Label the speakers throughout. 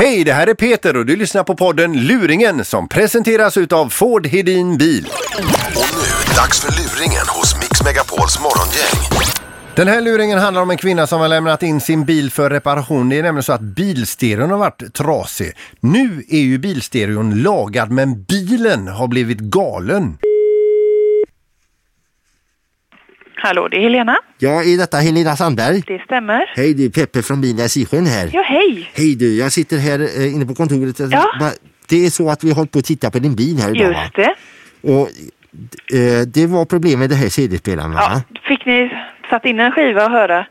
Speaker 1: Hej, det här är Peter och du lyssnar på podden Luringen som presenteras utav Ford Hedin Bil.
Speaker 2: Och nu, dags för luringen hos Mix Megapols morgongäng.
Speaker 1: Den här luringen handlar om en kvinna som har lämnat in sin bil för reparation. Det är nämligen så att bilstereon har varit trasig. Nu är ju bilstereon lagad men bilen har blivit galen.
Speaker 3: Hallå, det är Helena.
Speaker 4: Ja, är detta Helena Sandberg?
Speaker 3: Det stämmer.
Speaker 4: Hej, det är Peppe från Bilnäs i Sjön här.
Speaker 3: Ja, hej!
Speaker 4: Hej du, jag sitter här eh, inne på kontoret.
Speaker 3: Ja.
Speaker 4: Va- Det är så att vi har hållit på att titta på din bil här idag. va?
Speaker 3: Just det.
Speaker 4: Och eh, det var problem med det här CD-spelaren va?
Speaker 3: Ja, fick ni satt in en skiva och höra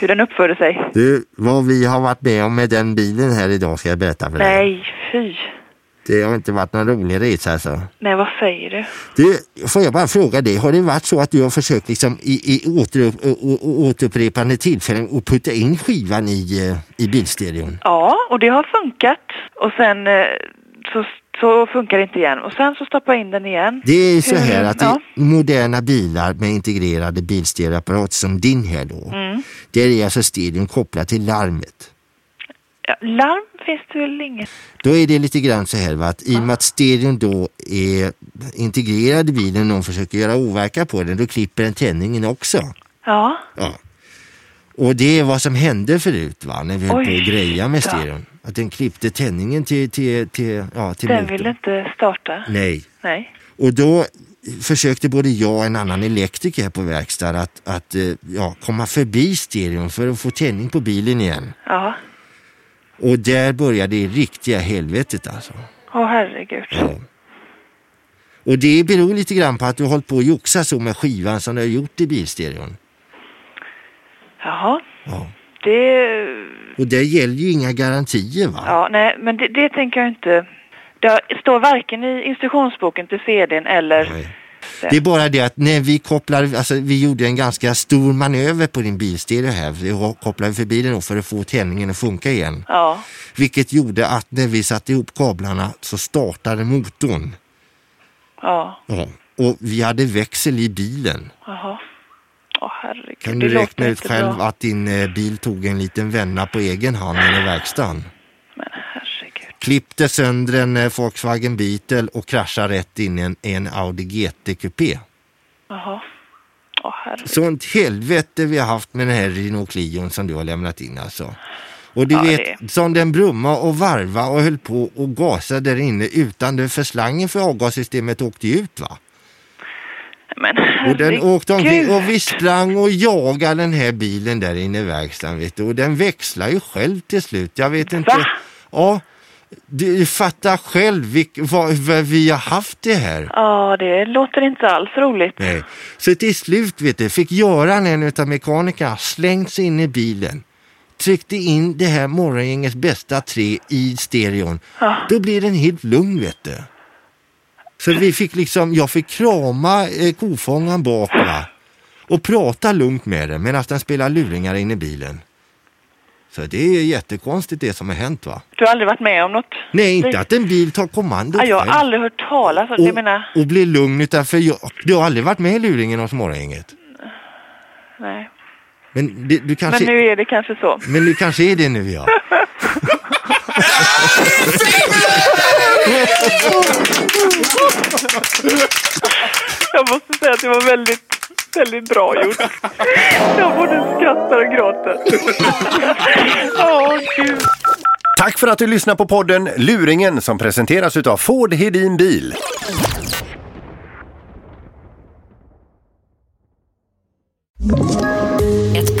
Speaker 3: hur den uppförde sig?
Speaker 4: Du, vad vi har varit med om med den bilen här idag ska jag berätta för dig.
Speaker 3: Nej, fy.
Speaker 4: Det har inte varit någon rolig resa alltså.
Speaker 3: Nej, vad säger du?
Speaker 4: Du, får jag bara fråga dig, har det varit så att du har försökt liksom i, i åter, å, å, å- återupprepande tillfällen att putta in skivan i, eh, i bilstereon?
Speaker 3: Ja, och det har funkat. Och sen eh, så, så funkar det inte igen. Och sen så stoppar jag in den igen.
Speaker 4: Det är så
Speaker 3: Hur-
Speaker 4: här att
Speaker 3: Mm, ja.
Speaker 4: i moderna bilar med integrerade bilstereoapparater som din här då,
Speaker 3: Mm.
Speaker 4: där är alltså stereon kopplad till larmet.
Speaker 3: Ja, larm finns det väl inget?
Speaker 4: Då är det lite grann så här va, att i och med att stereon då är integrerad i bilen och någon försöker göra overka på den, då klipper den tändningen också.
Speaker 3: Ja,
Speaker 4: Ja. Och det är vad som hände förut va, när vi höll
Speaker 3: Oj,
Speaker 4: på att greja med
Speaker 3: ja.
Speaker 4: stereon. Att den klippte tändningen till, till, till, ja, till
Speaker 3: den
Speaker 4: motorn.
Speaker 3: vill inte starta.
Speaker 4: Nej.
Speaker 3: Nej.
Speaker 4: Och då försökte både jag och en annan elektriker här på verkstad att, att eh, ja, komma förbi stereon för att få tändning på bilen igen.
Speaker 3: Ja,
Speaker 4: Och där började det riktiga helvetet alltså.
Speaker 3: åh herregud.
Speaker 4: Ja. Och det beror lite grann på att du har hållit på att joxa så med skivan som du har gjort i bilstereon.
Speaker 3: Jaha,
Speaker 4: Ja.
Speaker 3: det
Speaker 4: Och där gäller ju inga garantier va?
Speaker 3: Ja, nej, men det, det tänker jag inte. Det står varken i instruktionsboken till CDn eller...
Speaker 4: Nej.
Speaker 3: Det.
Speaker 4: Det är bara det att när vi kopplar, alltså vi gjorde en ganska stor manöver på din bilstereo här. Vi kopplade förbi den då för att få tändningen att funka igen.
Speaker 3: Ja,
Speaker 4: Vilket gjorde att när vi satte ihop kablarna så startade motorn.
Speaker 3: ja,
Speaker 4: Ja. Och vi hade växel i bilen.
Speaker 3: jaha. Åh herregud,
Speaker 4: Kan
Speaker 3: det
Speaker 4: du räkna
Speaker 3: låter
Speaker 4: ut
Speaker 3: inte
Speaker 4: själv
Speaker 3: bra.
Speaker 4: att din eh, bil tog en liten vända på egen hand i verkstaden?
Speaker 3: Men herregud.
Speaker 4: Klippte sönder en eh, Volkswagen Beetle och kraschade rätt in i en, i en Audi GT-kupé.
Speaker 3: Jaha. Åh herregud.
Speaker 4: Sånt helvete vi har haft med den här Renault Clion som du har lämnat in alltså. Och du
Speaker 3: Ja,
Speaker 4: vet,
Speaker 3: det-
Speaker 4: som den brumma och varva och höll på och gasa där inne utan det för slangen för avgassystemet åkte ju ut va?
Speaker 3: Men
Speaker 4: Och den
Speaker 3: herregud.
Speaker 4: åkte omkring och vi sprang och jagade den här bilen där inne i verkstaden vet du. Och den växlar ju själv till slut. Jag vet inte.
Speaker 3: Va?
Speaker 4: Ja, du fattar själv vilk, vad, vad vi har haft det här.
Speaker 3: Ja, det låter inte alls roligt.
Speaker 4: Nej. Så till slut vet du, fick Göran, en utav mekanikerna, slängt sig in i bilen. Tryckte in det här morgongängets bästa tre i stereon. Då blir den helt lugn vet du. Så vi fick liksom, jag fick krama eh, kofångaren bak va. Och prata lugnt med den medan den spelar luringar in i bilen. Så det är jättekonstigt det som har hänt va.
Speaker 3: Du har aldrig varit med om något?
Speaker 4: Nej, inte
Speaker 3: lik-
Speaker 4: att en bil tar kommandot.
Speaker 3: Ja, jag har
Speaker 4: själv
Speaker 3: aldrig hört talas om det. Jag menar,
Speaker 4: och, och blir lugn utan för jag, du har aldrig varit med i luringen hos morgongänget.
Speaker 3: nej.
Speaker 4: Men det, du
Speaker 3: Men
Speaker 4: kanske...
Speaker 3: nu är det kanske så.
Speaker 4: Men du kanske är det nu ja.
Speaker 3: Jag måste säga att det var väldigt, väldigt bra gjort. Jag både skrattar och gråter. Åh, gud.
Speaker 1: Tack för att du lyssnar på podden Luringen som presenteras utav Ford Hedin Bil.
Speaker 5: Ett